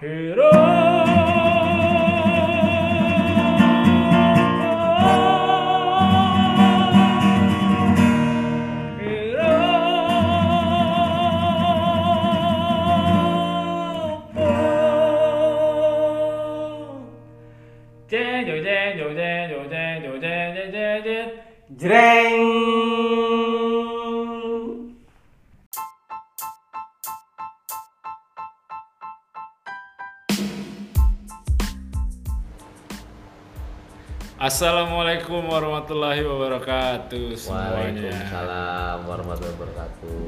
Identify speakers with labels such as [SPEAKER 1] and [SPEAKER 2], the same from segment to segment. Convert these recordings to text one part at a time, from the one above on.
[SPEAKER 1] Hero Jeng jeng jeng jeng jeng jeng jeng jeng jeng jeng jeng jeng Jreng Assalamualaikum warahmatullahi wabarakatuh semuanya.
[SPEAKER 2] Waalaikumsalam warahmatullahi wabarakatuh.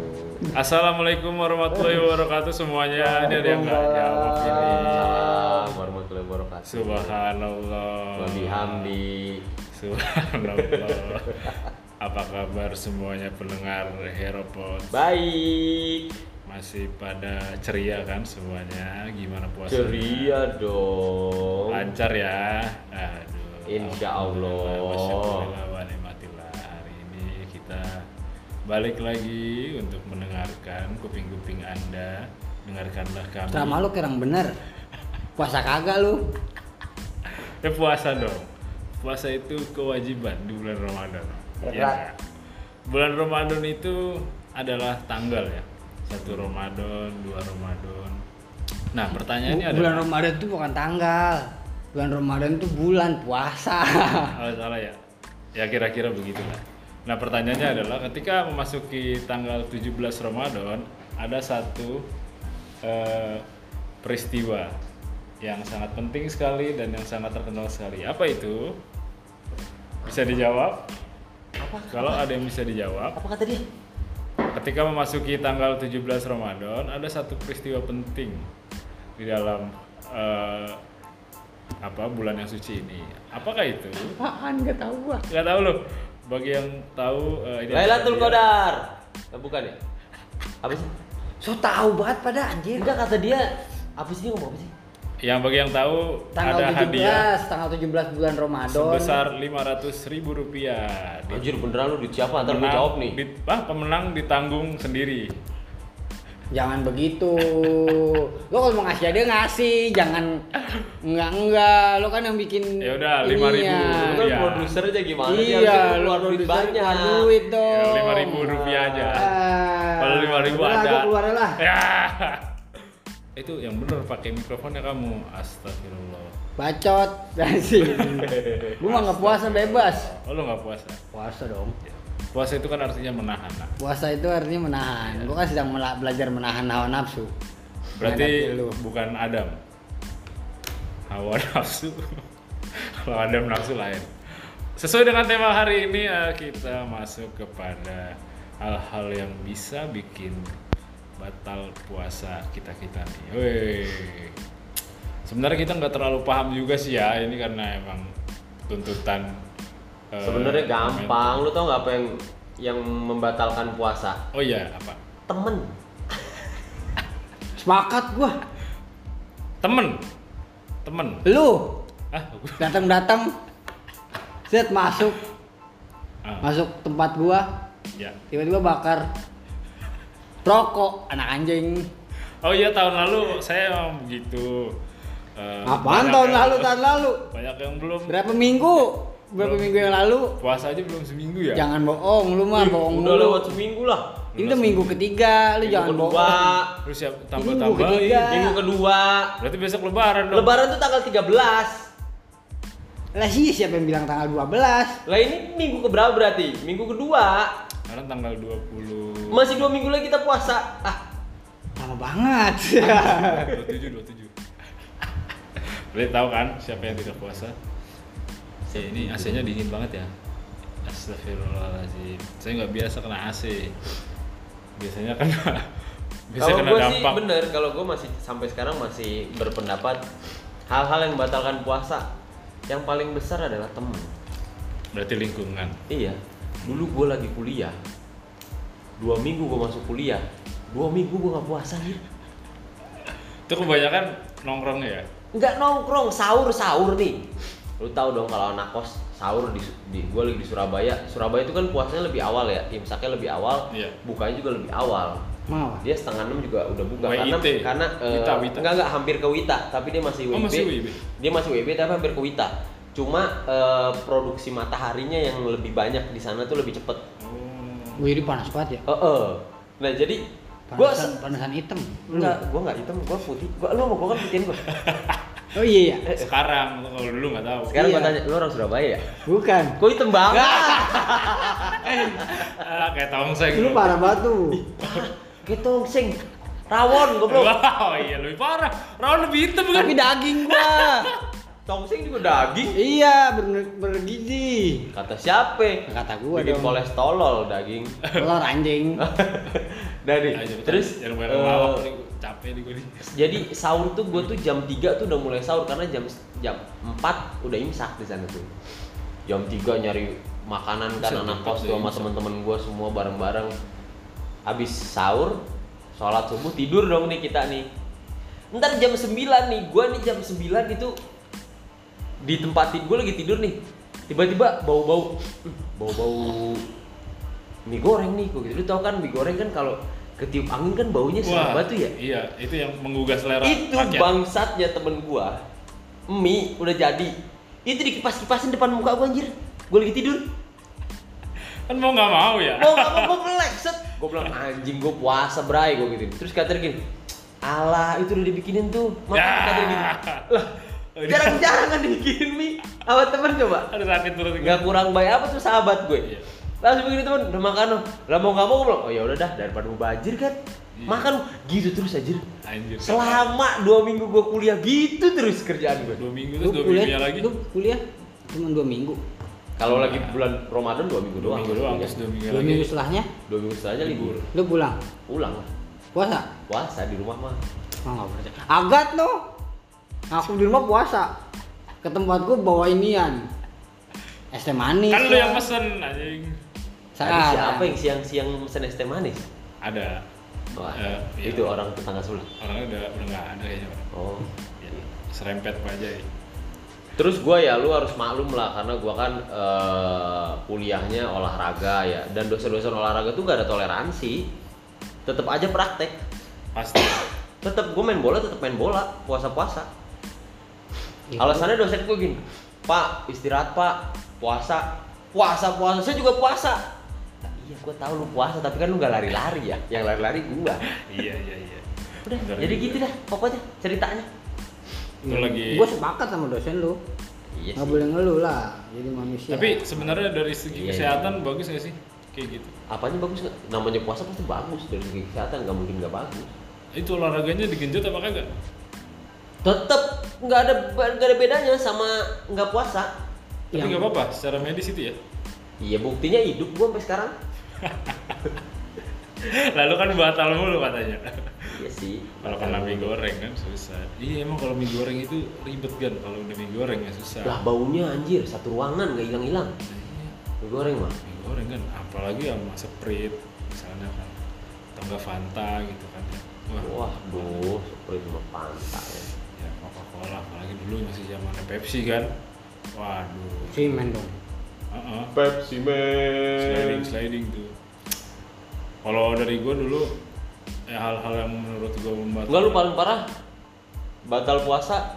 [SPEAKER 1] Assalamualaikum warahmatullahi wabarakatuh semuanya. Ini ada yang nggak Ya jawab ini.
[SPEAKER 2] Waalaikumsalam warahmatullahi wabarakatuh.
[SPEAKER 1] Subhanallah.
[SPEAKER 2] Wa bihamdi.
[SPEAKER 1] Subhanallah. Apa kabar semuanya pendengar Heropod?
[SPEAKER 2] Baik.
[SPEAKER 1] Masih pada ceria kan semuanya? Gimana puasanya?
[SPEAKER 2] Ceria dong.
[SPEAKER 1] Lancar ya. Aduh.
[SPEAKER 2] Insya Allah.
[SPEAKER 1] Alhamdulillah, wasyukurillah, wa ni'matillah. Hari ini kita balik lagi untuk mendengarkan kuping-kuping Anda. Dengarkanlah kami.
[SPEAKER 3] Drama lu kurang bener. Puasa kagak lu.
[SPEAKER 1] Ya puasa dong. Puasa itu kewajiban di bulan Ramadan.
[SPEAKER 2] Berat.
[SPEAKER 1] Iya nggak? Bulan Ramadan itu adalah tanggal ya. Satu Ramadan, dua Ramadan. Nah pertanyaannya
[SPEAKER 3] Bu-
[SPEAKER 1] adalah
[SPEAKER 3] bulan Ramadan tuh bukan tanggal. Bulan Ramadan tuh bulan puasa.
[SPEAKER 1] Oh, salah ya. Ya kira-kira begitulah. Nah, pertanyaannya adalah ketika memasuki tanggal 17 Ramadan, ada satu eh, peristiwa yang sangat penting sekali dan yang sangat terkenal sekali. Apa itu? Bisa dijawab? Kalau ada yang bisa dijawab.
[SPEAKER 2] Apa kata dia?
[SPEAKER 1] Ketika memasuki tanggal 17 Ramadan, ada satu peristiwa penting di dalam eh, apa bulan yang suci ini. Apakah itu?
[SPEAKER 3] Apaan gak tahu gua.
[SPEAKER 1] Gak tahu loh. Bagi yang tahu eh, ini apa
[SPEAKER 2] Lailatul
[SPEAKER 1] dia?
[SPEAKER 2] Qadar. Eh, bukan ya? Apa sih?
[SPEAKER 3] So tahu banget pada anjir.
[SPEAKER 2] Enggak kata dia. Apa sih dia ngomong apa sih?
[SPEAKER 1] Yang bagi yang tahu ada
[SPEAKER 3] Tanggal 17,
[SPEAKER 1] hadiah
[SPEAKER 3] tanggal 17 bulan Ramadan.
[SPEAKER 1] sebesar 500 ribu rupiah. Di-
[SPEAKER 2] Anjir beneran lu duit siapa? Ntar gue jawab nih.
[SPEAKER 1] di- ah, pemenang ditanggung sendiri.
[SPEAKER 3] Jangan begitu. Lo kalau mau ngasih dia ngasih, jangan enggak enggak. Lo kan yang bikin
[SPEAKER 1] Ya udah, 5.000.
[SPEAKER 3] ininya.
[SPEAKER 2] Lu kan
[SPEAKER 1] Iya.
[SPEAKER 2] produser aja gimana sih?
[SPEAKER 3] Iya,
[SPEAKER 2] Harusnya lu
[SPEAKER 3] lo
[SPEAKER 2] keluar duit banyak.
[SPEAKER 3] duit
[SPEAKER 1] Ya,
[SPEAKER 3] dong.
[SPEAKER 1] 5.000 rupiah aja.
[SPEAKER 3] Ah.
[SPEAKER 1] Kalau 5.000
[SPEAKER 3] Udah lah,
[SPEAKER 1] ada.
[SPEAKER 3] gua keluarin lah.
[SPEAKER 1] Ya. Itu yang bener pakai mikrofonnya kamu. Astagfirullah.
[SPEAKER 3] bacot dan sih gue mah nggak puasa bebas
[SPEAKER 1] Oh, lu nggak puasa.
[SPEAKER 3] puasa dong
[SPEAKER 1] Puasa itu kan artinya menahan. Nak.
[SPEAKER 3] puasa itu artinya menahan gue kan sedang mela- belajar menahan hawa nafsu
[SPEAKER 1] Berarti
[SPEAKER 3] Menghadapi lu
[SPEAKER 1] bukan Adam. Hawa nafsu. Kalau Adam nafsu lain. Sesuai dengan tema hari ini eh, kita masuk kepada hal-hal yang bisa bikin batal puasa kita kita nih. Woi. Sebenarnya kita nggak terlalu paham juga sih ya ini karena emang tuntutan. eh,
[SPEAKER 2] Sebenarnya gampang. Lu tau nggak apa yang yang membatalkan puasa?
[SPEAKER 1] Oh iya apa?
[SPEAKER 2] Temen.
[SPEAKER 3] sepakat gue
[SPEAKER 1] Temen. Temen.
[SPEAKER 3] lu
[SPEAKER 1] Ah,
[SPEAKER 3] datang datang set masuk
[SPEAKER 1] ah,
[SPEAKER 3] masuk tempat gua
[SPEAKER 1] ya.
[SPEAKER 3] tiba-tiba bakar rokok anak anjing
[SPEAKER 1] Oh iya tahun lalu saya emang begitu. Eh,
[SPEAKER 3] apaan
[SPEAKER 1] banyak
[SPEAKER 3] tahun
[SPEAKER 1] yang-
[SPEAKER 3] lalu tahun lalu
[SPEAKER 1] Banyak yang belum
[SPEAKER 3] berapa minggu berapa
[SPEAKER 1] Belum.
[SPEAKER 3] minggu yang lalu
[SPEAKER 1] puasa aja belum seminggu ya.
[SPEAKER 3] jangan bohong lu mah
[SPEAKER 2] Ih,
[SPEAKER 3] bohong
[SPEAKER 2] udah
[SPEAKER 3] mulu.
[SPEAKER 2] lewat seminggu lah.
[SPEAKER 3] ini udah minggu ketiga lu
[SPEAKER 2] Minggu
[SPEAKER 3] jangan
[SPEAKER 2] kedua, Iya,
[SPEAKER 3] bohong
[SPEAKER 1] Terus siap
[SPEAKER 3] minggu
[SPEAKER 1] tambah-tambahin.
[SPEAKER 3] ketiga.
[SPEAKER 2] minggu kedua.
[SPEAKER 1] Berarti besok lebaran dong.
[SPEAKER 2] Lebaran tuh tanggal 13.
[SPEAKER 3] Lah sih siapa yang bilang tanggal 12?
[SPEAKER 2] Lah ini minggu keberapa berarti? Minggu kedua.
[SPEAKER 1] Lebaran tanggal 20.
[SPEAKER 2] Masih dua minggu lagi kita puasa. Ah,
[SPEAKER 3] Lama banget.
[SPEAKER 1] 27 27. Berarti tahu kan siapa yang tidak puasa? Ya, ini AC-nya dingin banget ya. Astagfirullahaladzim. Saya nggak biasa kena AC. Biasanya kena biasanya
[SPEAKER 2] kalau
[SPEAKER 1] kena
[SPEAKER 2] gue sih
[SPEAKER 1] dampak.
[SPEAKER 2] bener, kalau gue masih sampai sekarang masih berpendapat hal-hal yang membatalkan puasa yang paling besar adalah temen.
[SPEAKER 1] Berarti lingkungan.
[SPEAKER 2] Iya, dulu gue lagi kuliah. Dua minggu gue masuk kuliah. Dua minggu gue gak puasa nih.
[SPEAKER 1] Itu kebanyakan nongkrong ya.
[SPEAKER 2] nggak nongkrong sahur sahur nih lu tahu dong kalau anak kos sahur di, di gue lagi di Surabaya Surabaya itu kan puasanya lebih awal ya imsaknya lebih awal
[SPEAKER 1] Iya.
[SPEAKER 2] bukanya juga lebih awal
[SPEAKER 3] Mau.
[SPEAKER 2] dia setengah enam juga udah buka
[SPEAKER 1] WIT.
[SPEAKER 2] karena karena eh,
[SPEAKER 1] Wita, Wita.
[SPEAKER 2] nggak nggak hampir ke Wita tapi dia masih WIB,
[SPEAKER 1] Oh, masih WIB.
[SPEAKER 2] dia masih WIB tapi hampir ke Wita cuma eh, produksi mataharinya yang lebih banyak di sana tuh lebih cepet
[SPEAKER 1] Oh.
[SPEAKER 3] Wih, ini panas banget
[SPEAKER 2] Eh,
[SPEAKER 3] ya.
[SPEAKER 2] eh. nah jadi gua
[SPEAKER 3] Panasan, panasan hitam. Lu.
[SPEAKER 2] enggak gua nggak hitam gua putih gua lu mau gua kan putihin gua
[SPEAKER 3] Oh iya,
[SPEAKER 1] Eh,
[SPEAKER 3] iya.
[SPEAKER 1] Sekarang lu kalau dulu nggak tahu.
[SPEAKER 2] Eh, sekarang gua
[SPEAKER 3] Iya.
[SPEAKER 2] tanya lu orang Surabaya ya
[SPEAKER 3] Bukan.
[SPEAKER 2] gua hitam banget
[SPEAKER 1] Ah, kayak tongseng.
[SPEAKER 3] Lu parah banget tuh.
[SPEAKER 2] gitu sing rawon goblok
[SPEAKER 1] Wow, iya lebih parah. Rawan lebih hitam kan?
[SPEAKER 2] tapi daging gua tongseng juga daging
[SPEAKER 3] iya, bener bergizi.
[SPEAKER 2] kata siapa
[SPEAKER 3] Kata gua
[SPEAKER 2] bikin
[SPEAKER 3] dong.
[SPEAKER 2] kolesterol daging
[SPEAKER 3] Telur
[SPEAKER 1] Ah,
[SPEAKER 3] anjing.
[SPEAKER 2] dari
[SPEAKER 1] Ayo, bentar.
[SPEAKER 2] terus
[SPEAKER 1] jangan banyak
[SPEAKER 2] eh, Iya,
[SPEAKER 1] ngelawak nih, gua capek nih gue nih.
[SPEAKER 2] jadi sahur tuh gue tuh jam 3 tuh udah mulai sahur karena jam jam 4 udah imsak di sana tuh jam 3 nyari makanan kan
[SPEAKER 1] Buset,
[SPEAKER 2] anak
[SPEAKER 1] jam
[SPEAKER 2] kos
[SPEAKER 1] 4 udah
[SPEAKER 2] tuh sama
[SPEAKER 1] imsak.
[SPEAKER 2] temen-temen gue semua bareng-bareng habis sahur sholat subuh tidur dong nih kita nih ntar jam 9 nih gue nih jam 9 itu di tempat gue lagi tidur nih tiba-tiba bau-bau "Hmm, bau-bau mie goreng nih gue gitu lu tau kan mie goreng kan kalau ketiup angin kan baunya
[SPEAKER 1] Wah,
[SPEAKER 2] serem banget tuh ya
[SPEAKER 1] Iya, itu yang menggugah selera
[SPEAKER 2] itu
[SPEAKER 1] rakyat.
[SPEAKER 2] bangsatnya temen gua mie udah jadi itu dikipas-kipasin depan muka gua anjir gua lagi tidur
[SPEAKER 1] Kan mau nggak mau ya.
[SPEAKER 2] mau gak mau gua melek set gua bilang anjing gua puasa bray gua gitu terus kata gini ala itu udah dibikinin tuh
[SPEAKER 1] Ya.
[SPEAKER 2] makanya kata gini lah jarang-jarang kan dibikinin mie sama temen coba
[SPEAKER 1] Ada sakit perut gue.
[SPEAKER 2] nggak kurang baik apa tuh sahabat gue
[SPEAKER 1] Iya.
[SPEAKER 2] langsung begini temen udah makan lo lah mau nggak mau gua bilang oh ya udah dah daripada mau bajir kan
[SPEAKER 1] Iya.
[SPEAKER 2] makan gitu terus anjir
[SPEAKER 1] Anjir.
[SPEAKER 2] Selama dua minggu gue kuliah gitu terus kerjaan gue.
[SPEAKER 1] dua minggu
[SPEAKER 3] Lu
[SPEAKER 1] terus dua minggunya lagi.
[SPEAKER 3] Lu kuliah cuma dua minggu.
[SPEAKER 2] Kalau lagi bulan Ramadan dua minggu
[SPEAKER 1] dua
[SPEAKER 2] doang. Iya
[SPEAKER 1] minggu doang terus dua minggu
[SPEAKER 3] Dua
[SPEAKER 1] Iya lagi.
[SPEAKER 3] minggu setelahnya
[SPEAKER 2] Dua minggu setelahnya libur.
[SPEAKER 3] lu pulang.
[SPEAKER 2] Pulang lah.
[SPEAKER 3] Puasa?
[SPEAKER 2] Puasa di rumah mah.
[SPEAKER 3] Oh, nggak puasa. Agat no. Aku di rumah puasa. Ke tempat gua bawa inian. Es teh manis.
[SPEAKER 1] Kan lu
[SPEAKER 3] lah.
[SPEAKER 1] yang pesen anjing.
[SPEAKER 2] Tadi
[SPEAKER 3] Saat.
[SPEAKER 2] siapa yang siang-siang mesen es teh manis?
[SPEAKER 1] Ada.
[SPEAKER 2] Wah,
[SPEAKER 1] Eh, iya.
[SPEAKER 2] itu orang tetangga sebelah.
[SPEAKER 1] Orangnya udah udah nggak ada kayaknya. Pak.
[SPEAKER 2] Oh.
[SPEAKER 1] Ya, Serempet apa aja ya.
[SPEAKER 2] Terus gue ya lu harus maklum lah karena gue kan eh, kuliahnya olahraga ya dan dosen-dosen olahraga tuh gak ada toleransi. Tetap aja praktek.
[SPEAKER 1] Pasti.
[SPEAKER 2] Tetap gue main bola tetap main bola puasa-puasa.
[SPEAKER 3] Gitu.
[SPEAKER 2] Alasannya dosen gue gini, Pak istirahat Pak, puasa, puasa puasa, saya juga puasa. Nah, iya gue tahu lu puasa tapi kan lu nggak lari-lari ya, yang lari-lari gue.
[SPEAKER 1] iya iya iya.
[SPEAKER 2] Udah,
[SPEAKER 1] Bentar
[SPEAKER 2] jadi
[SPEAKER 1] lagi.
[SPEAKER 2] gitu dah pokoknya ceritanya.
[SPEAKER 1] Lu lagi-
[SPEAKER 3] Iya. Gua sepakat sama dosen lu.
[SPEAKER 2] Iya
[SPEAKER 3] nggak
[SPEAKER 2] sih.
[SPEAKER 3] boleh ngeluh lah jadi manusia.
[SPEAKER 1] Tapi sebenarnya dari segi
[SPEAKER 2] Iya, iya.
[SPEAKER 1] kesehatan bagus nggak sih? Kayak gitu.
[SPEAKER 2] Apanya bagus nggak? Namanya puasa pasti bagus dari segi kesehatan nggak mungkin nggak bagus.
[SPEAKER 1] Itu olahraganya digenjot apa kagak?
[SPEAKER 2] Tetep nggak ada nggak ada bedanya sama nggak puasa.
[SPEAKER 1] Tapi
[SPEAKER 3] Yang-
[SPEAKER 1] nggak apa-apa, secara medis itu ya.
[SPEAKER 2] Iya buktinya hidup gue sampai sekarang.
[SPEAKER 1] Lalu kan batal mulu katanya.
[SPEAKER 2] Iya sih.
[SPEAKER 1] Kalau kena mie goreng kan susah. Iya emang kalau mie goreng itu ribet kan kalau udah mie goreng ya susah.
[SPEAKER 2] Lah baunya anjir satu ruangan nggak hilang-hilang.
[SPEAKER 1] Iya,
[SPEAKER 2] Mie goreng mah.
[SPEAKER 1] Mie goreng kan apalagi sama sprit misalnya kan atau enggak Fanta gitu kan. ya. Wah,
[SPEAKER 2] Waduh, seperti cuma pantai.
[SPEAKER 1] ya Coca-Cola apalagi dulu masih zamannya Pepsi kan. Waduh.
[SPEAKER 3] si men dong.
[SPEAKER 1] Heeh.
[SPEAKER 2] Pepsi Eh,
[SPEAKER 1] sliding sliding tuh kalau dari gue dulu eh, hal-hal yang menurut gue membatalkan
[SPEAKER 2] Enggak lu paling parah batal puasa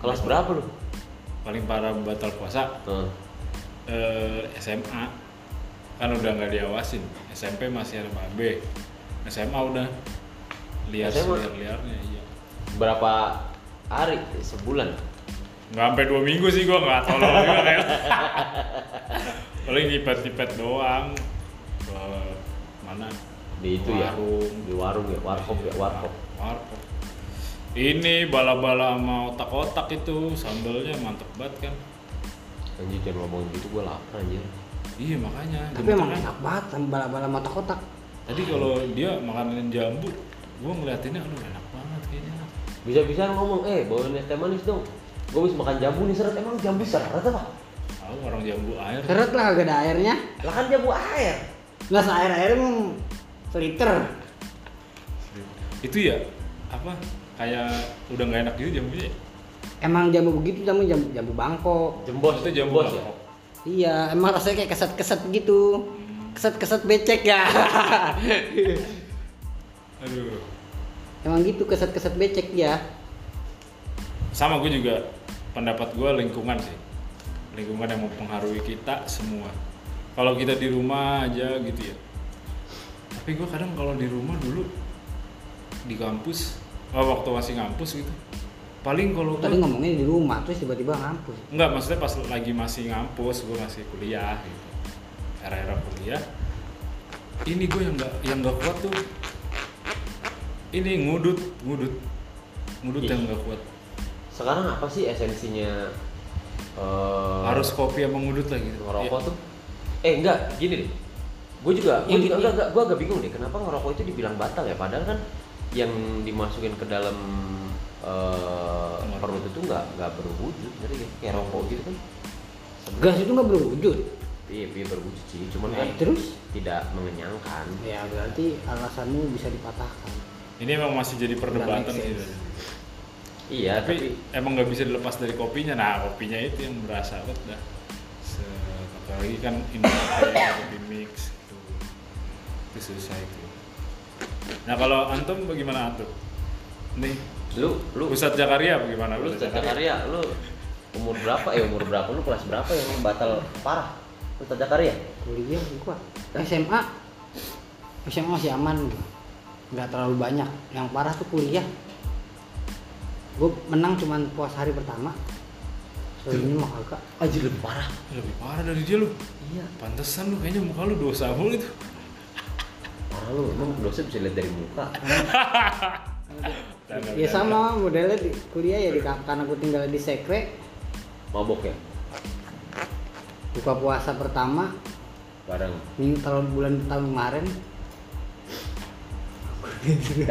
[SPEAKER 2] kelas berapa lu?
[SPEAKER 1] paling parah batal puasa
[SPEAKER 2] Heeh.
[SPEAKER 1] eh, SMA kan udah nggak diawasin SMP masih ada B SMA udah liar
[SPEAKER 2] SMA?
[SPEAKER 1] liar liarnya iya
[SPEAKER 2] Berapa hari? Sebulan.
[SPEAKER 1] nggak sampai dua minggu sih gue nggak tolong juga kayak paling nipet nipet doang ke mana
[SPEAKER 2] Di itu ya.
[SPEAKER 1] Warung.
[SPEAKER 2] Di warung ya, warkop ya, warkop.
[SPEAKER 1] warkop ini bala-bala sama otak-otak itu sambalnya mantep banget kan
[SPEAKER 2] Anjir jangan ngomong gitu gua lapar anjir.
[SPEAKER 1] Iya makanya.
[SPEAKER 3] Tapi
[SPEAKER 1] Gemeteran.
[SPEAKER 3] emang enak banget sama bala-bala mata kotak.
[SPEAKER 1] Tadi kalau dia makanan jambu, gua ngeliatinnya aduh enak banget kayaknya.
[SPEAKER 2] Bisa-bisa lu ngomong, "Eh, bawain es teh manis dong." Gua habis makan jambu nih seret. Emang jambu seret apa?
[SPEAKER 1] Tahu orang jambu air.
[SPEAKER 3] Seret lah gak ada airnya.
[SPEAKER 2] Lah kan jambu air.
[SPEAKER 3] Nggak air-air emang seliter.
[SPEAKER 1] Itu ya apa? Kayak udah nggak enak gitu jambunya. ya?
[SPEAKER 3] Emang jambu begitu jambu jambu, jambu bangkok.
[SPEAKER 2] Jembos
[SPEAKER 1] Itu jambu
[SPEAKER 2] jembos ya.
[SPEAKER 1] bangkok.
[SPEAKER 3] Iya, emang rasanya kayak keset-keset gitu. Keset-keset becek ya.
[SPEAKER 1] Aduh.
[SPEAKER 3] Emang gitu keset-keset becek ya. dia.
[SPEAKER 1] Sama gue juga pendapat gue lingkungan sih. Lingkungan yang mempengaruhi kita semua. Kalau kita di rumah aja gitu ya. Tapi gue kadang kalau di rumah dulu di kampus, oh, waktu masih ngampus gitu. Paling kalau
[SPEAKER 3] Tadi
[SPEAKER 1] gue
[SPEAKER 3] ngomongnya di rumah terus tiba-tiba ngampus.
[SPEAKER 1] Enggak, maksudnya pas lagi masih ngampus, gue masih kuliah gitu. Era-era kuliah. Ini gue yang nggak yang nggak kuat tuh. Ini ngudut, ngudut. Ngudut
[SPEAKER 2] Ih.
[SPEAKER 1] yang nggak kuat.
[SPEAKER 2] Sekarang apa sih esensinya eh,
[SPEAKER 1] Harus kopi sama ngudut lah gitu.
[SPEAKER 2] ngerokok tuh? Eh enggak, gini deh. Gue juga, gue
[SPEAKER 3] Iya,
[SPEAKER 2] juga
[SPEAKER 3] gini.
[SPEAKER 2] enggak, enggak, gue agak bingung deh. Kenapa ngerokok itu dibilang batal ya? Padahal kan yang dimasukin ke dalam eh,
[SPEAKER 1] Ngerokok.
[SPEAKER 2] perut itu enggak enggak berwujud, jadi kayak- kayak rokok gitu kan?
[SPEAKER 3] Gas itu nggak berwujud.
[SPEAKER 2] Iya, iya berwujud sih. Cuman kan
[SPEAKER 3] Eh, terus?
[SPEAKER 2] tidak mengenyangkan.
[SPEAKER 3] Ya berarti alasanmu bisa dipatahkan.
[SPEAKER 1] Ini emang masih jadi perdebatan
[SPEAKER 3] Kurang make
[SPEAKER 1] sih.
[SPEAKER 3] sense.
[SPEAKER 2] Iya, tapi
[SPEAKER 1] Tapi emang nggak bisa dilepas dari kopinya. Nah, kopinya itu yang berasa banget dah. Se- Apalagi kan ini kopi mix gitu. Itu susah itu. Nah, kalau antum bagaimana antum? Nih,
[SPEAKER 2] lu lu
[SPEAKER 1] Pusat Jakaria bagaimana?
[SPEAKER 2] lu Ustadz Zakaria lu umur berapa ya umur berapa lu kelas berapa yang batal parah lu ya? Ustadz Zakaria
[SPEAKER 3] Kuliah gua SMA SMA masih aman gua. Nggak terlalu banyak. Yang parah tuh kuliah. Gue menang cuman puas hari pertama. Selanjutnya mah kagak.
[SPEAKER 2] aja lebih parah
[SPEAKER 1] Lebih parah dari dia lu.
[SPEAKER 2] iya
[SPEAKER 1] Pantesan lu kayaknya muka lu dosa mulu itu.
[SPEAKER 2] parah lu emang dosa bisa lihat dari muka
[SPEAKER 3] Ya sama modelnya di kuliah ya di karena gue tinggal di sekre
[SPEAKER 2] mabok ya
[SPEAKER 3] buka puasa pertama
[SPEAKER 2] bareng
[SPEAKER 3] minggu tahun bulan tahun kemarin Eh, kita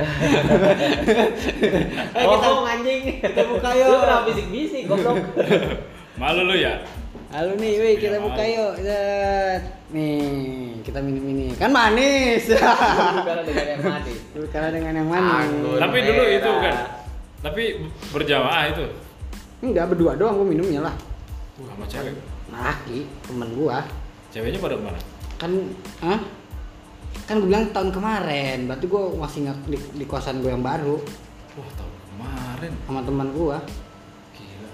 [SPEAKER 2] Ngomong.
[SPEAKER 3] anjing kita buka
[SPEAKER 2] Eh, lu
[SPEAKER 3] yuk
[SPEAKER 2] kenapa bisik bisik goblok
[SPEAKER 1] Malu lu ya?
[SPEAKER 3] Iya, halo nih weh kita buka yuk Set. nih kita minum ini kan manis
[SPEAKER 2] bukan dengan yang mati
[SPEAKER 3] Berkala dengan yang manis
[SPEAKER 2] Anggur.
[SPEAKER 1] Tapi dulu
[SPEAKER 2] merah.
[SPEAKER 1] itu kan. Tapi berjamaah itu.
[SPEAKER 3] enggak berdua doang gue minumnya lah
[SPEAKER 1] Wah, sama cewek.
[SPEAKER 3] laki temen gua
[SPEAKER 1] Ceweknya pada kemana?
[SPEAKER 3] kan Hah? kan gue bilang tahun kemarin berarti gue masih nggak di, di kosan gue yang baru
[SPEAKER 1] Wah, tahun kemarin.
[SPEAKER 3] sama teman gue
[SPEAKER 1] Gila.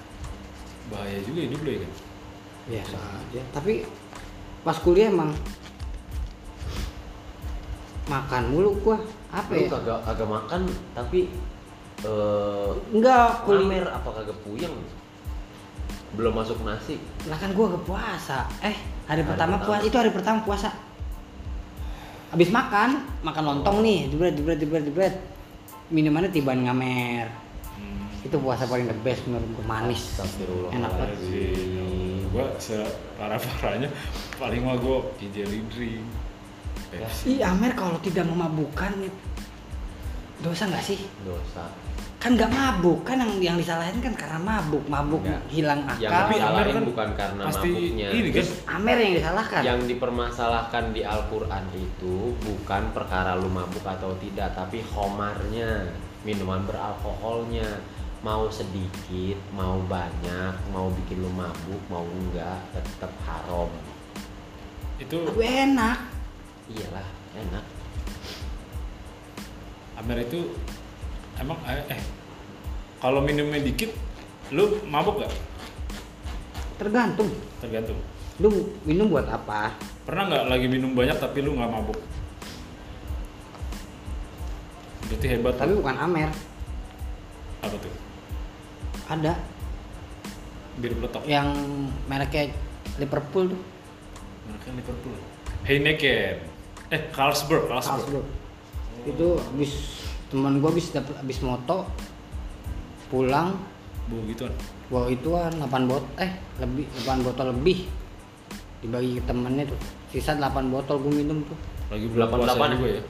[SPEAKER 1] Bahaya juga hidup lu ya kan.
[SPEAKER 3] biasa aja tapi pas kuliah emang makan mulu gue apa
[SPEAKER 2] lu
[SPEAKER 1] Iya.
[SPEAKER 3] ya
[SPEAKER 2] kagak kagak makan tapi eh
[SPEAKER 3] enggak kuliah
[SPEAKER 2] kuliner apa kagak puyeng belum masuk nasi
[SPEAKER 3] lah kan gue gak puasa eh hari,
[SPEAKER 2] Hari
[SPEAKER 3] pertama,
[SPEAKER 2] pertama.
[SPEAKER 3] puasa itu hari pertama puasa habis makan makan lontong nih jebret jebret jebret jebret minumannya tiban ngamer
[SPEAKER 1] Hmm.
[SPEAKER 3] itu puasa paling the best menurut gue manis enak banget
[SPEAKER 2] Astagfirullahaladzim.
[SPEAKER 1] Gua separah-parahnya paling mah gua jelly drink. Pepsi.
[SPEAKER 3] Ih Amer kalau tidak memabukan dosa nggak sih?
[SPEAKER 2] dosa
[SPEAKER 3] Kan nggak mabuk kan yang yang disalahin kan karena mabuk, mabuk
[SPEAKER 2] Nggak.
[SPEAKER 3] hilang
[SPEAKER 2] Ya, yang
[SPEAKER 1] Tapi
[SPEAKER 3] akal.
[SPEAKER 1] Amer
[SPEAKER 2] disalahin
[SPEAKER 1] kan
[SPEAKER 2] bukan karena
[SPEAKER 1] Pasti
[SPEAKER 2] mabuknya
[SPEAKER 1] ini kan
[SPEAKER 3] Amer yang disalahkan.
[SPEAKER 2] yang dipermasalahkan di Al-Quran itu bukan perkara lu mabuk atau tidak tapi homarnya minuman beralkoholnya mau sedikit mau banyak mau bikin lu mabuk mau enggak tetap haram
[SPEAKER 1] itu
[SPEAKER 3] Tapi enak.
[SPEAKER 2] iyalah enak
[SPEAKER 1] Amer itu emang eh, eh, kalau minumnya dikit lu mabuk gak?
[SPEAKER 3] Tergantung.
[SPEAKER 1] Tergantung.
[SPEAKER 3] Lu minum buat apa?
[SPEAKER 1] Pernah nggak lagi minum banyak tapi lu nggak mabuk? Berarti hebat.
[SPEAKER 3] Tapi bukan Amer.
[SPEAKER 1] apa tuh?
[SPEAKER 3] Ada
[SPEAKER 1] Bir peletok.
[SPEAKER 3] yang mereknya Liverpool tuh.
[SPEAKER 1] Mereka Liverpool. Heineken. Eh, Carlsberg, Carlsberg.
[SPEAKER 3] Salzburg. Itu habis teman gua habis dapet habis moto pulang
[SPEAKER 1] Bu gitu kan. gituan.
[SPEAKER 3] bawa ituan 8 bot eh lebih 8 botol lebih dibagi ke temennya tuh sisa 8 botol gue minum tuh
[SPEAKER 1] Lagi bulan puasa
[SPEAKER 2] 88.
[SPEAKER 1] juga ya.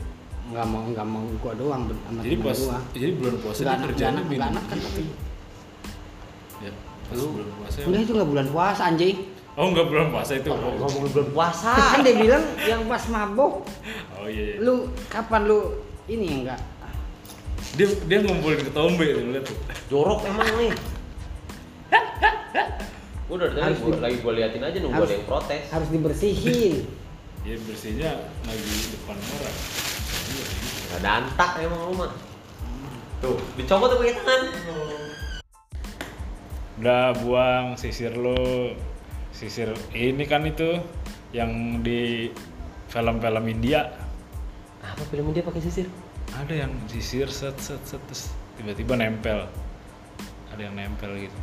[SPEAKER 3] nggak mau nggak mau gua doang ben- sama
[SPEAKER 1] Jadi
[SPEAKER 3] temen
[SPEAKER 1] puas,
[SPEAKER 3] gua
[SPEAKER 1] jadi bulan puasa
[SPEAKER 3] Nggak
[SPEAKER 1] dia
[SPEAKER 3] enak-
[SPEAKER 1] kerjanya
[SPEAKER 3] nggak
[SPEAKER 1] minum
[SPEAKER 3] enak- nggak enak kan
[SPEAKER 1] gitu. Ya, pas
[SPEAKER 2] Lu-
[SPEAKER 1] bulan puasa.
[SPEAKER 3] enggak itu nggak bulan puasa anjing
[SPEAKER 1] Oh, enggak bulan puasa itu. Oh,
[SPEAKER 2] ngomong belum puasa
[SPEAKER 3] kan dia bilang yang pas mabok
[SPEAKER 1] oh iya. iya.
[SPEAKER 3] lu kapan lu ini enggak
[SPEAKER 1] Dia dia ngumpulin ke tombe lu lihat tuh.
[SPEAKER 2] jorok emang nih Gua udah dari tadi
[SPEAKER 3] Harus
[SPEAKER 2] gua,
[SPEAKER 3] di-
[SPEAKER 2] lagi gua liatin aja nunggu
[SPEAKER 3] harus-
[SPEAKER 2] ada yang protes
[SPEAKER 3] harus dibersihin
[SPEAKER 1] Dia bersihnya lagi depan orang. Iya, gitu.
[SPEAKER 2] Gak dantak emang lu mah. Tuh, dicopot tuh pakai tangan.
[SPEAKER 1] udah buang sisir lo sisir ini kan itu yang di film-film India
[SPEAKER 2] Apa film dia pakai sisir?
[SPEAKER 1] ada yang sisir set set set terus tiba-tiba nempel ada yang nempel gitu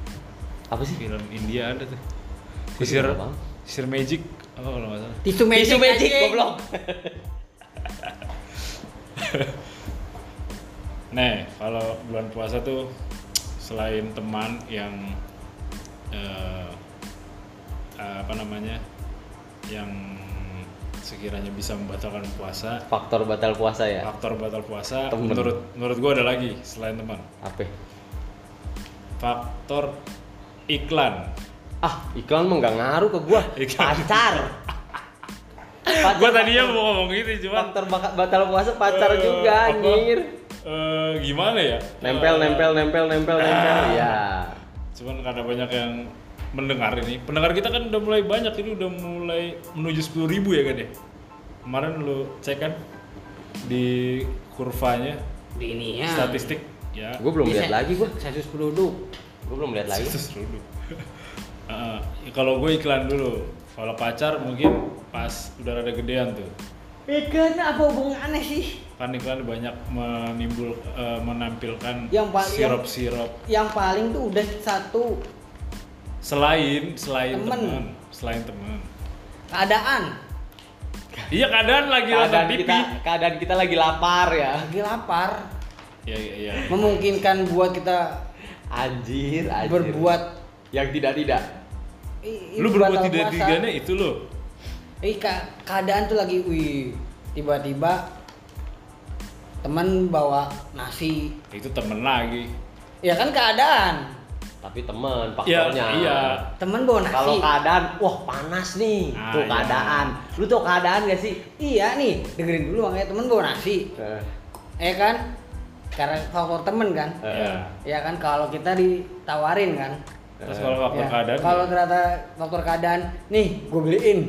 [SPEAKER 2] Apa sih?
[SPEAKER 1] film India ada tuh
[SPEAKER 2] Gua
[SPEAKER 1] sisir
[SPEAKER 2] juga nggak paham.
[SPEAKER 1] sisir magic oh kalau nggak salah
[SPEAKER 3] Tisu magic.
[SPEAKER 2] Tisu magic,
[SPEAKER 3] anjing.
[SPEAKER 2] goblok.
[SPEAKER 1] Nih, Nah, kalau bulan puasa tuh selain teman yang eh, apa namanya? yang sekiranya bisa membatalkan puasa,
[SPEAKER 2] Faktor batal puasa ya.
[SPEAKER 1] faktor batal puasa
[SPEAKER 2] Temen.
[SPEAKER 1] menurut menurut gua ada lagi selain teman.
[SPEAKER 2] Apa?
[SPEAKER 1] Faktor iklan.
[SPEAKER 2] Ah, iklan mah nggak ngaruh ke gua.
[SPEAKER 1] Iklan.
[SPEAKER 2] Pacar. pacar
[SPEAKER 1] Gua tadinya mau ngomong gitu cuman
[SPEAKER 2] faktor baka- batal puasa pacar
[SPEAKER 1] eh,
[SPEAKER 2] juga
[SPEAKER 1] apa,
[SPEAKER 2] anjir.
[SPEAKER 1] eh, gimana ya?
[SPEAKER 2] Nempel,
[SPEAKER 1] Eh,
[SPEAKER 2] nempel, nempel, nempel, nempel. Ya.
[SPEAKER 1] Cuman karena banyak yang mendengar ini, pendengar kita kan udah mulai banyak, ini udah mulai menuju 10.000 ya kan ya? Kemarin lu cek kan di kurvanya,
[SPEAKER 3] Di ini ya.
[SPEAKER 1] statistik ya.
[SPEAKER 2] Gua belum lihat lagi gua.
[SPEAKER 3] Sensus penduduk.
[SPEAKER 2] Gua belum lihat lagi.
[SPEAKER 1] Terus dulu. Heeh. Ya, kalau gue iklan dulu, kalau pacar mungkin pas udah rada gedean tuh.
[SPEAKER 3] Iklan apa hubungannya sih?
[SPEAKER 1] Kan iklan banyak menimbul eh, menampilkan
[SPEAKER 3] Yang pa- yang-
[SPEAKER 1] sirup-sirup
[SPEAKER 3] Yang paling tuh udah satu
[SPEAKER 1] selain selain
[SPEAKER 3] Temen.
[SPEAKER 1] teman, selain teman.
[SPEAKER 3] keadaan
[SPEAKER 1] Iya keadaan lagi nonton
[SPEAKER 2] Keadaan
[SPEAKER 1] TV.
[SPEAKER 2] kita, keadaan kita lagi lapar ya.
[SPEAKER 3] lagi lapar
[SPEAKER 1] Iya iya iya.
[SPEAKER 3] memungkinkan buat kita
[SPEAKER 2] Anjir, anjir.
[SPEAKER 3] berbuat
[SPEAKER 2] yang tidak tidak.
[SPEAKER 3] i- i-
[SPEAKER 1] lu
[SPEAKER 3] batal
[SPEAKER 1] berbuat tidak
[SPEAKER 3] puasa.
[SPEAKER 2] ya?
[SPEAKER 1] tiganya itu lo
[SPEAKER 3] Ih, ka- keadaan tuh lagi wih tiba-tiba teman bawa nasi
[SPEAKER 1] itu temen lagi
[SPEAKER 3] ya kan keadaan
[SPEAKER 2] Tapi temen
[SPEAKER 1] Iya,
[SPEAKER 2] faktornya.
[SPEAKER 1] iya
[SPEAKER 3] teman bawa nasi
[SPEAKER 2] Kalau keadaan, wah panas nih.
[SPEAKER 1] Ah,
[SPEAKER 2] tuh
[SPEAKER 1] iya.
[SPEAKER 2] keadaan. Lu tuh keadaan gak sih?
[SPEAKER 3] iya nih dengerin dulu makanya teman bawa nasi
[SPEAKER 1] Eh.
[SPEAKER 3] ya kan karena faktor temen kan
[SPEAKER 2] Eh,
[SPEAKER 1] Iya.
[SPEAKER 3] ya kan kalau kita ditawarin kan
[SPEAKER 1] terus kalau faktor
[SPEAKER 3] Ya,
[SPEAKER 1] keadaan
[SPEAKER 3] kalau
[SPEAKER 1] ya.
[SPEAKER 3] ternyata faktor keadaan nih gue beliin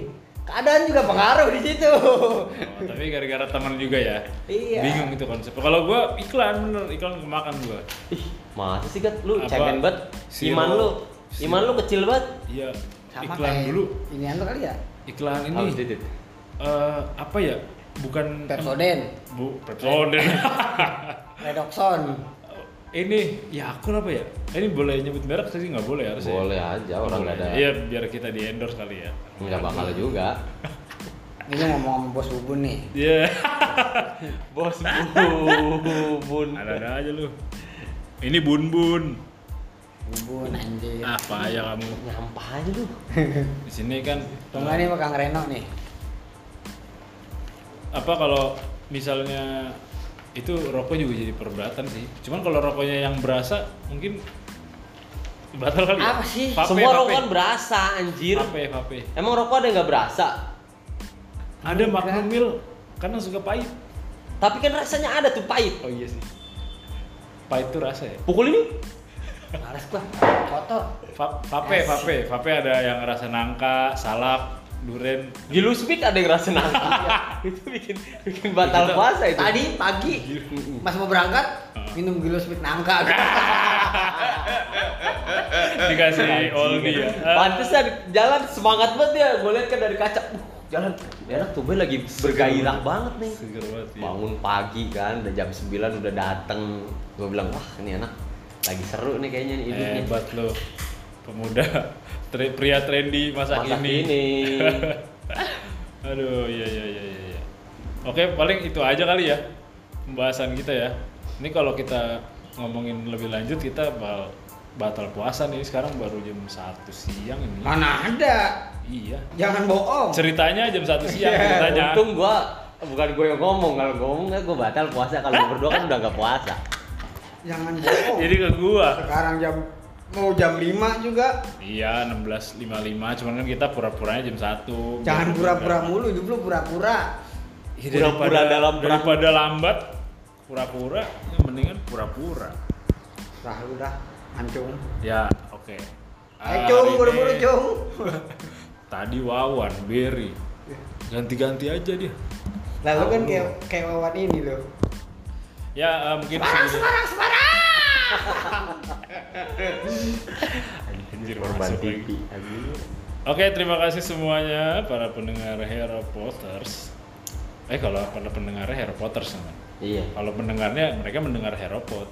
[SPEAKER 3] keadaan juga pengaruh di situ
[SPEAKER 1] Oh, tapi gara-gara teman juga ya
[SPEAKER 3] Iya.
[SPEAKER 1] bingung itu konsep kalau gua iklan bener iklan kemakan gua
[SPEAKER 2] Ih, masa sih Gat? Lu
[SPEAKER 1] Apa?
[SPEAKER 2] cemen banget.
[SPEAKER 1] Siro.
[SPEAKER 2] Iman lu. Iman
[SPEAKER 1] Siro.
[SPEAKER 2] lu kecil banget.
[SPEAKER 1] iya
[SPEAKER 3] Sama
[SPEAKER 1] iklan
[SPEAKER 3] kayak
[SPEAKER 1] dulu
[SPEAKER 3] ini anu kali ya
[SPEAKER 1] iklan ini
[SPEAKER 2] Harus titit.
[SPEAKER 1] eh, apa ya bukan
[SPEAKER 3] Pepsodent
[SPEAKER 1] bu Oh, Pepsodent
[SPEAKER 3] Redoxon
[SPEAKER 1] ini ya aku apa ya ini boleh nyebut merek sih nggak boleh harusnya
[SPEAKER 2] Boleh aja orang
[SPEAKER 1] Boleh.
[SPEAKER 2] gak ada.
[SPEAKER 1] iya biar kita di endorse kali ya
[SPEAKER 2] Enggak bakal juga.
[SPEAKER 3] ini ngomong sama bos bubun nih
[SPEAKER 1] iya
[SPEAKER 2] Bos bubun.
[SPEAKER 1] ada-ada aja lu ini bun bun
[SPEAKER 3] bubun anjir
[SPEAKER 1] apa ya kamu
[SPEAKER 2] Nyampah aja lu.
[SPEAKER 1] di sini kan
[SPEAKER 3] Tuh nggak nih sama Kang Reno nih
[SPEAKER 1] apa kalau misalnya itu rokok juga jadi perdebatan sih cuman kalau rokoknya yang berasa mungkin batal kali ya?
[SPEAKER 3] Apa sih?
[SPEAKER 1] Vape,
[SPEAKER 2] Semua kan
[SPEAKER 1] vape.
[SPEAKER 2] rokokan berasa anjir.
[SPEAKER 1] Vape, vape.
[SPEAKER 2] Emang rokok ada yang gak berasa?
[SPEAKER 1] ada Magnum Mil karena suka pahit
[SPEAKER 2] Tapi kan rasanya ada tuh pahit.
[SPEAKER 1] oh iya sih pahit tuh rasa ya
[SPEAKER 2] Pukul ini.
[SPEAKER 3] males gua foto
[SPEAKER 1] Va- vape
[SPEAKER 3] Asik.
[SPEAKER 1] vape vape ada yang rasa nangka salak duren
[SPEAKER 2] Gilu speed ada yang rasa nangka. itu bikin bikin batal
[SPEAKER 1] Kita-
[SPEAKER 2] puasa itu.
[SPEAKER 3] tadi pagi pas mau berangkat
[SPEAKER 1] Ah.
[SPEAKER 3] minum gilo speed nangka
[SPEAKER 1] dikasih oldie ya Ah,
[SPEAKER 2] Pantesan jalan semangat banget ya. Gue lihat kan dari kaca. Uh, jalan enak tuh gue lagi bergairah banget nih.
[SPEAKER 1] seger banget ya.
[SPEAKER 2] Bangun pagi kan, udah jam 9 udah dateng. Gue bilang, wah ini anak lagi seru nih kayaknya nih hidupnya.
[SPEAKER 1] hebat lo pemuda tre- pria trendy masa,
[SPEAKER 2] Masa
[SPEAKER 1] kini.
[SPEAKER 2] ini.
[SPEAKER 1] aduh iya iya iya iya, iya oke paling itu aja kali ya pembahasan kita ya ini kalau kita ngomongin lebih lanjut kita bakal batal puasa nih sekarang baru jam 1 siang ini
[SPEAKER 3] mana ada
[SPEAKER 1] iya
[SPEAKER 3] jangan bohong
[SPEAKER 1] ceritanya jam 1 siang ceritanya
[SPEAKER 2] Nah, Untung gue bukan gue yang ngomong kalau gue ngomong gue batal puasa kalau lu berdua kan udah nggak puasa
[SPEAKER 3] jangan bohong
[SPEAKER 1] jadi ke gua
[SPEAKER 3] sekarang jam mau jam 5 juga
[SPEAKER 1] iya 16.55 cuman kan kita pura-puranya jam 1
[SPEAKER 3] jangan pura-pura mulu hidup lu pura-pura
[SPEAKER 1] Ya,
[SPEAKER 2] Pura-pura
[SPEAKER 1] daripada-
[SPEAKER 2] dalam perang.
[SPEAKER 1] daripada lambat pura-pura ya mendingan pura-pura
[SPEAKER 3] Nah, udah ancung.
[SPEAKER 1] ya oke
[SPEAKER 3] Eh,
[SPEAKER 1] Ah,
[SPEAKER 3] cung,
[SPEAKER 1] hari
[SPEAKER 3] buru-buru
[SPEAKER 1] ini
[SPEAKER 3] cung.
[SPEAKER 1] tadi Wawan Berry ganti-ganti aja dia
[SPEAKER 3] Lalu kan kayak kayak wawan ini loh.
[SPEAKER 1] Ya eh, mungkin sebelum- Anjir, baru
[SPEAKER 2] Korban
[SPEAKER 1] masuk lagi.
[SPEAKER 2] TV. anjing.
[SPEAKER 1] Oke, terima kasih semuanya para pendengar Harry Potters. Eh kalau para pendengar Harry Potters namanya.
[SPEAKER 2] Iya.
[SPEAKER 1] Kalau pendengarnya mereka mendengar Heropod.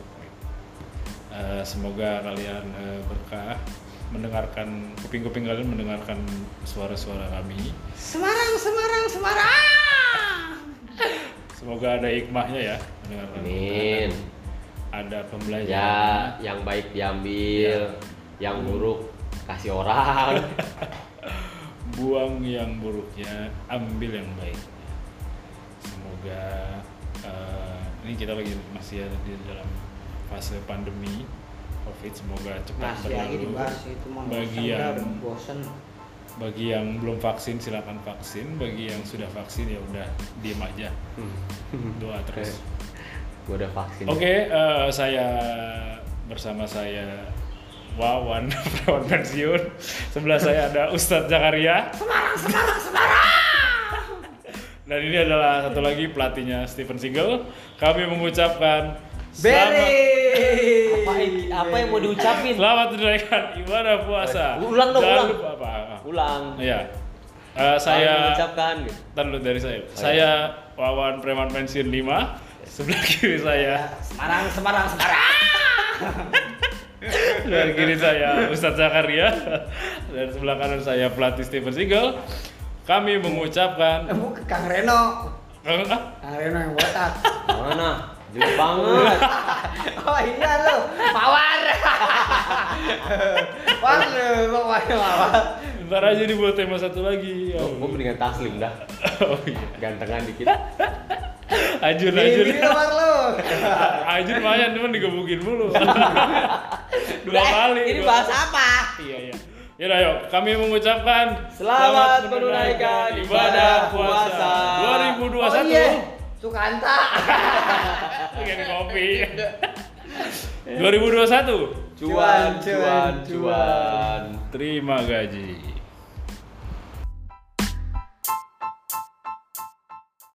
[SPEAKER 1] Eh, semoga kalian eh, berkah mendengarkan kuping-kuping kalian mendengarkan suara-suara kami.
[SPEAKER 3] Semarang, Semarang, Semarang.
[SPEAKER 1] Semoga ada hikmahnya ya mendengarkan.
[SPEAKER 2] Amin.
[SPEAKER 1] Ada pembelajaran.
[SPEAKER 2] Ya, yang baik diambil,
[SPEAKER 1] Iya.
[SPEAKER 2] yang buruk kasih orang.
[SPEAKER 1] buang yang buruknya, ambil yang baiknya. Semoga eh, ini kita lagi masih ada di dalam fase pandemi COVID. Semoga cepat
[SPEAKER 3] Masih lagi
[SPEAKER 1] berlalu.
[SPEAKER 3] dibahas ya. itu mau
[SPEAKER 1] Bagi
[SPEAKER 3] bosan,
[SPEAKER 1] yang
[SPEAKER 3] udah bosen.
[SPEAKER 1] bagi yang belum vaksin silakan vaksin, bagi yang sudah vaksin ya udah diem aja, doa terus.
[SPEAKER 2] Gue udah vaksin.
[SPEAKER 1] Oke, eh, saya bersama saya Wawan Perawan Pensiun. Sebelah saya ada Ustadz Zakaria. Semarang, Semarang, Semarang. Dan ini adalah satu lagi pelatihnya Steven Single. Kami mengucapkan selamat,
[SPEAKER 2] Apa, ini- apa yang mau diucapin?
[SPEAKER 1] selamat menunaikan ibadah puasa.
[SPEAKER 2] Ulang dong,
[SPEAKER 1] Jangan
[SPEAKER 2] ulang.
[SPEAKER 1] lupa apa?
[SPEAKER 2] Ulang.
[SPEAKER 1] Iya. Eh, saya
[SPEAKER 2] Kalian mengucapkan gitu.
[SPEAKER 1] Ntar dulu dari saya. saya Wawan Preman Pensiun 5. Sebelah kiri saya,
[SPEAKER 3] Semarang, Semarang, Semarang.
[SPEAKER 1] sebelah kiri saya Ustadz Zakaria dan sebelah kanan saya pelatih Steven Seagal. Kami mengucapkan
[SPEAKER 3] Kamu ke Eh, Kang Reno.
[SPEAKER 1] Kang- ah,
[SPEAKER 3] Kang Reno yang botak.
[SPEAKER 2] Mana? Jelek banget.
[SPEAKER 3] Oh iya lo, mawar. Mawar lo, kok pakai mawar?
[SPEAKER 1] ntar aja dibuat tema satu lagi. Ya
[SPEAKER 2] Gue
[SPEAKER 1] Allah.
[SPEAKER 2] mendingan taslim dah.
[SPEAKER 1] Oh iya.
[SPEAKER 2] Gantengan dikit.
[SPEAKER 1] Ajun, ajun.
[SPEAKER 3] Ini mawar lo.
[SPEAKER 1] Ajun lumayan cuman digebukin mulu. Dua
[SPEAKER 2] Eh,
[SPEAKER 1] kali.
[SPEAKER 2] Ini
[SPEAKER 1] dua-
[SPEAKER 2] bahas apa?
[SPEAKER 1] Iya, iya. Yaudah, yuk. Kami mengucapkan
[SPEAKER 2] Selamat menunaikan ibadah puasa.
[SPEAKER 1] 2021.
[SPEAKER 3] Oh iya, Sukanta.
[SPEAKER 1] Bikin kopi. 2021.
[SPEAKER 2] Cuan, cuan, cuan.
[SPEAKER 1] Terima gaji.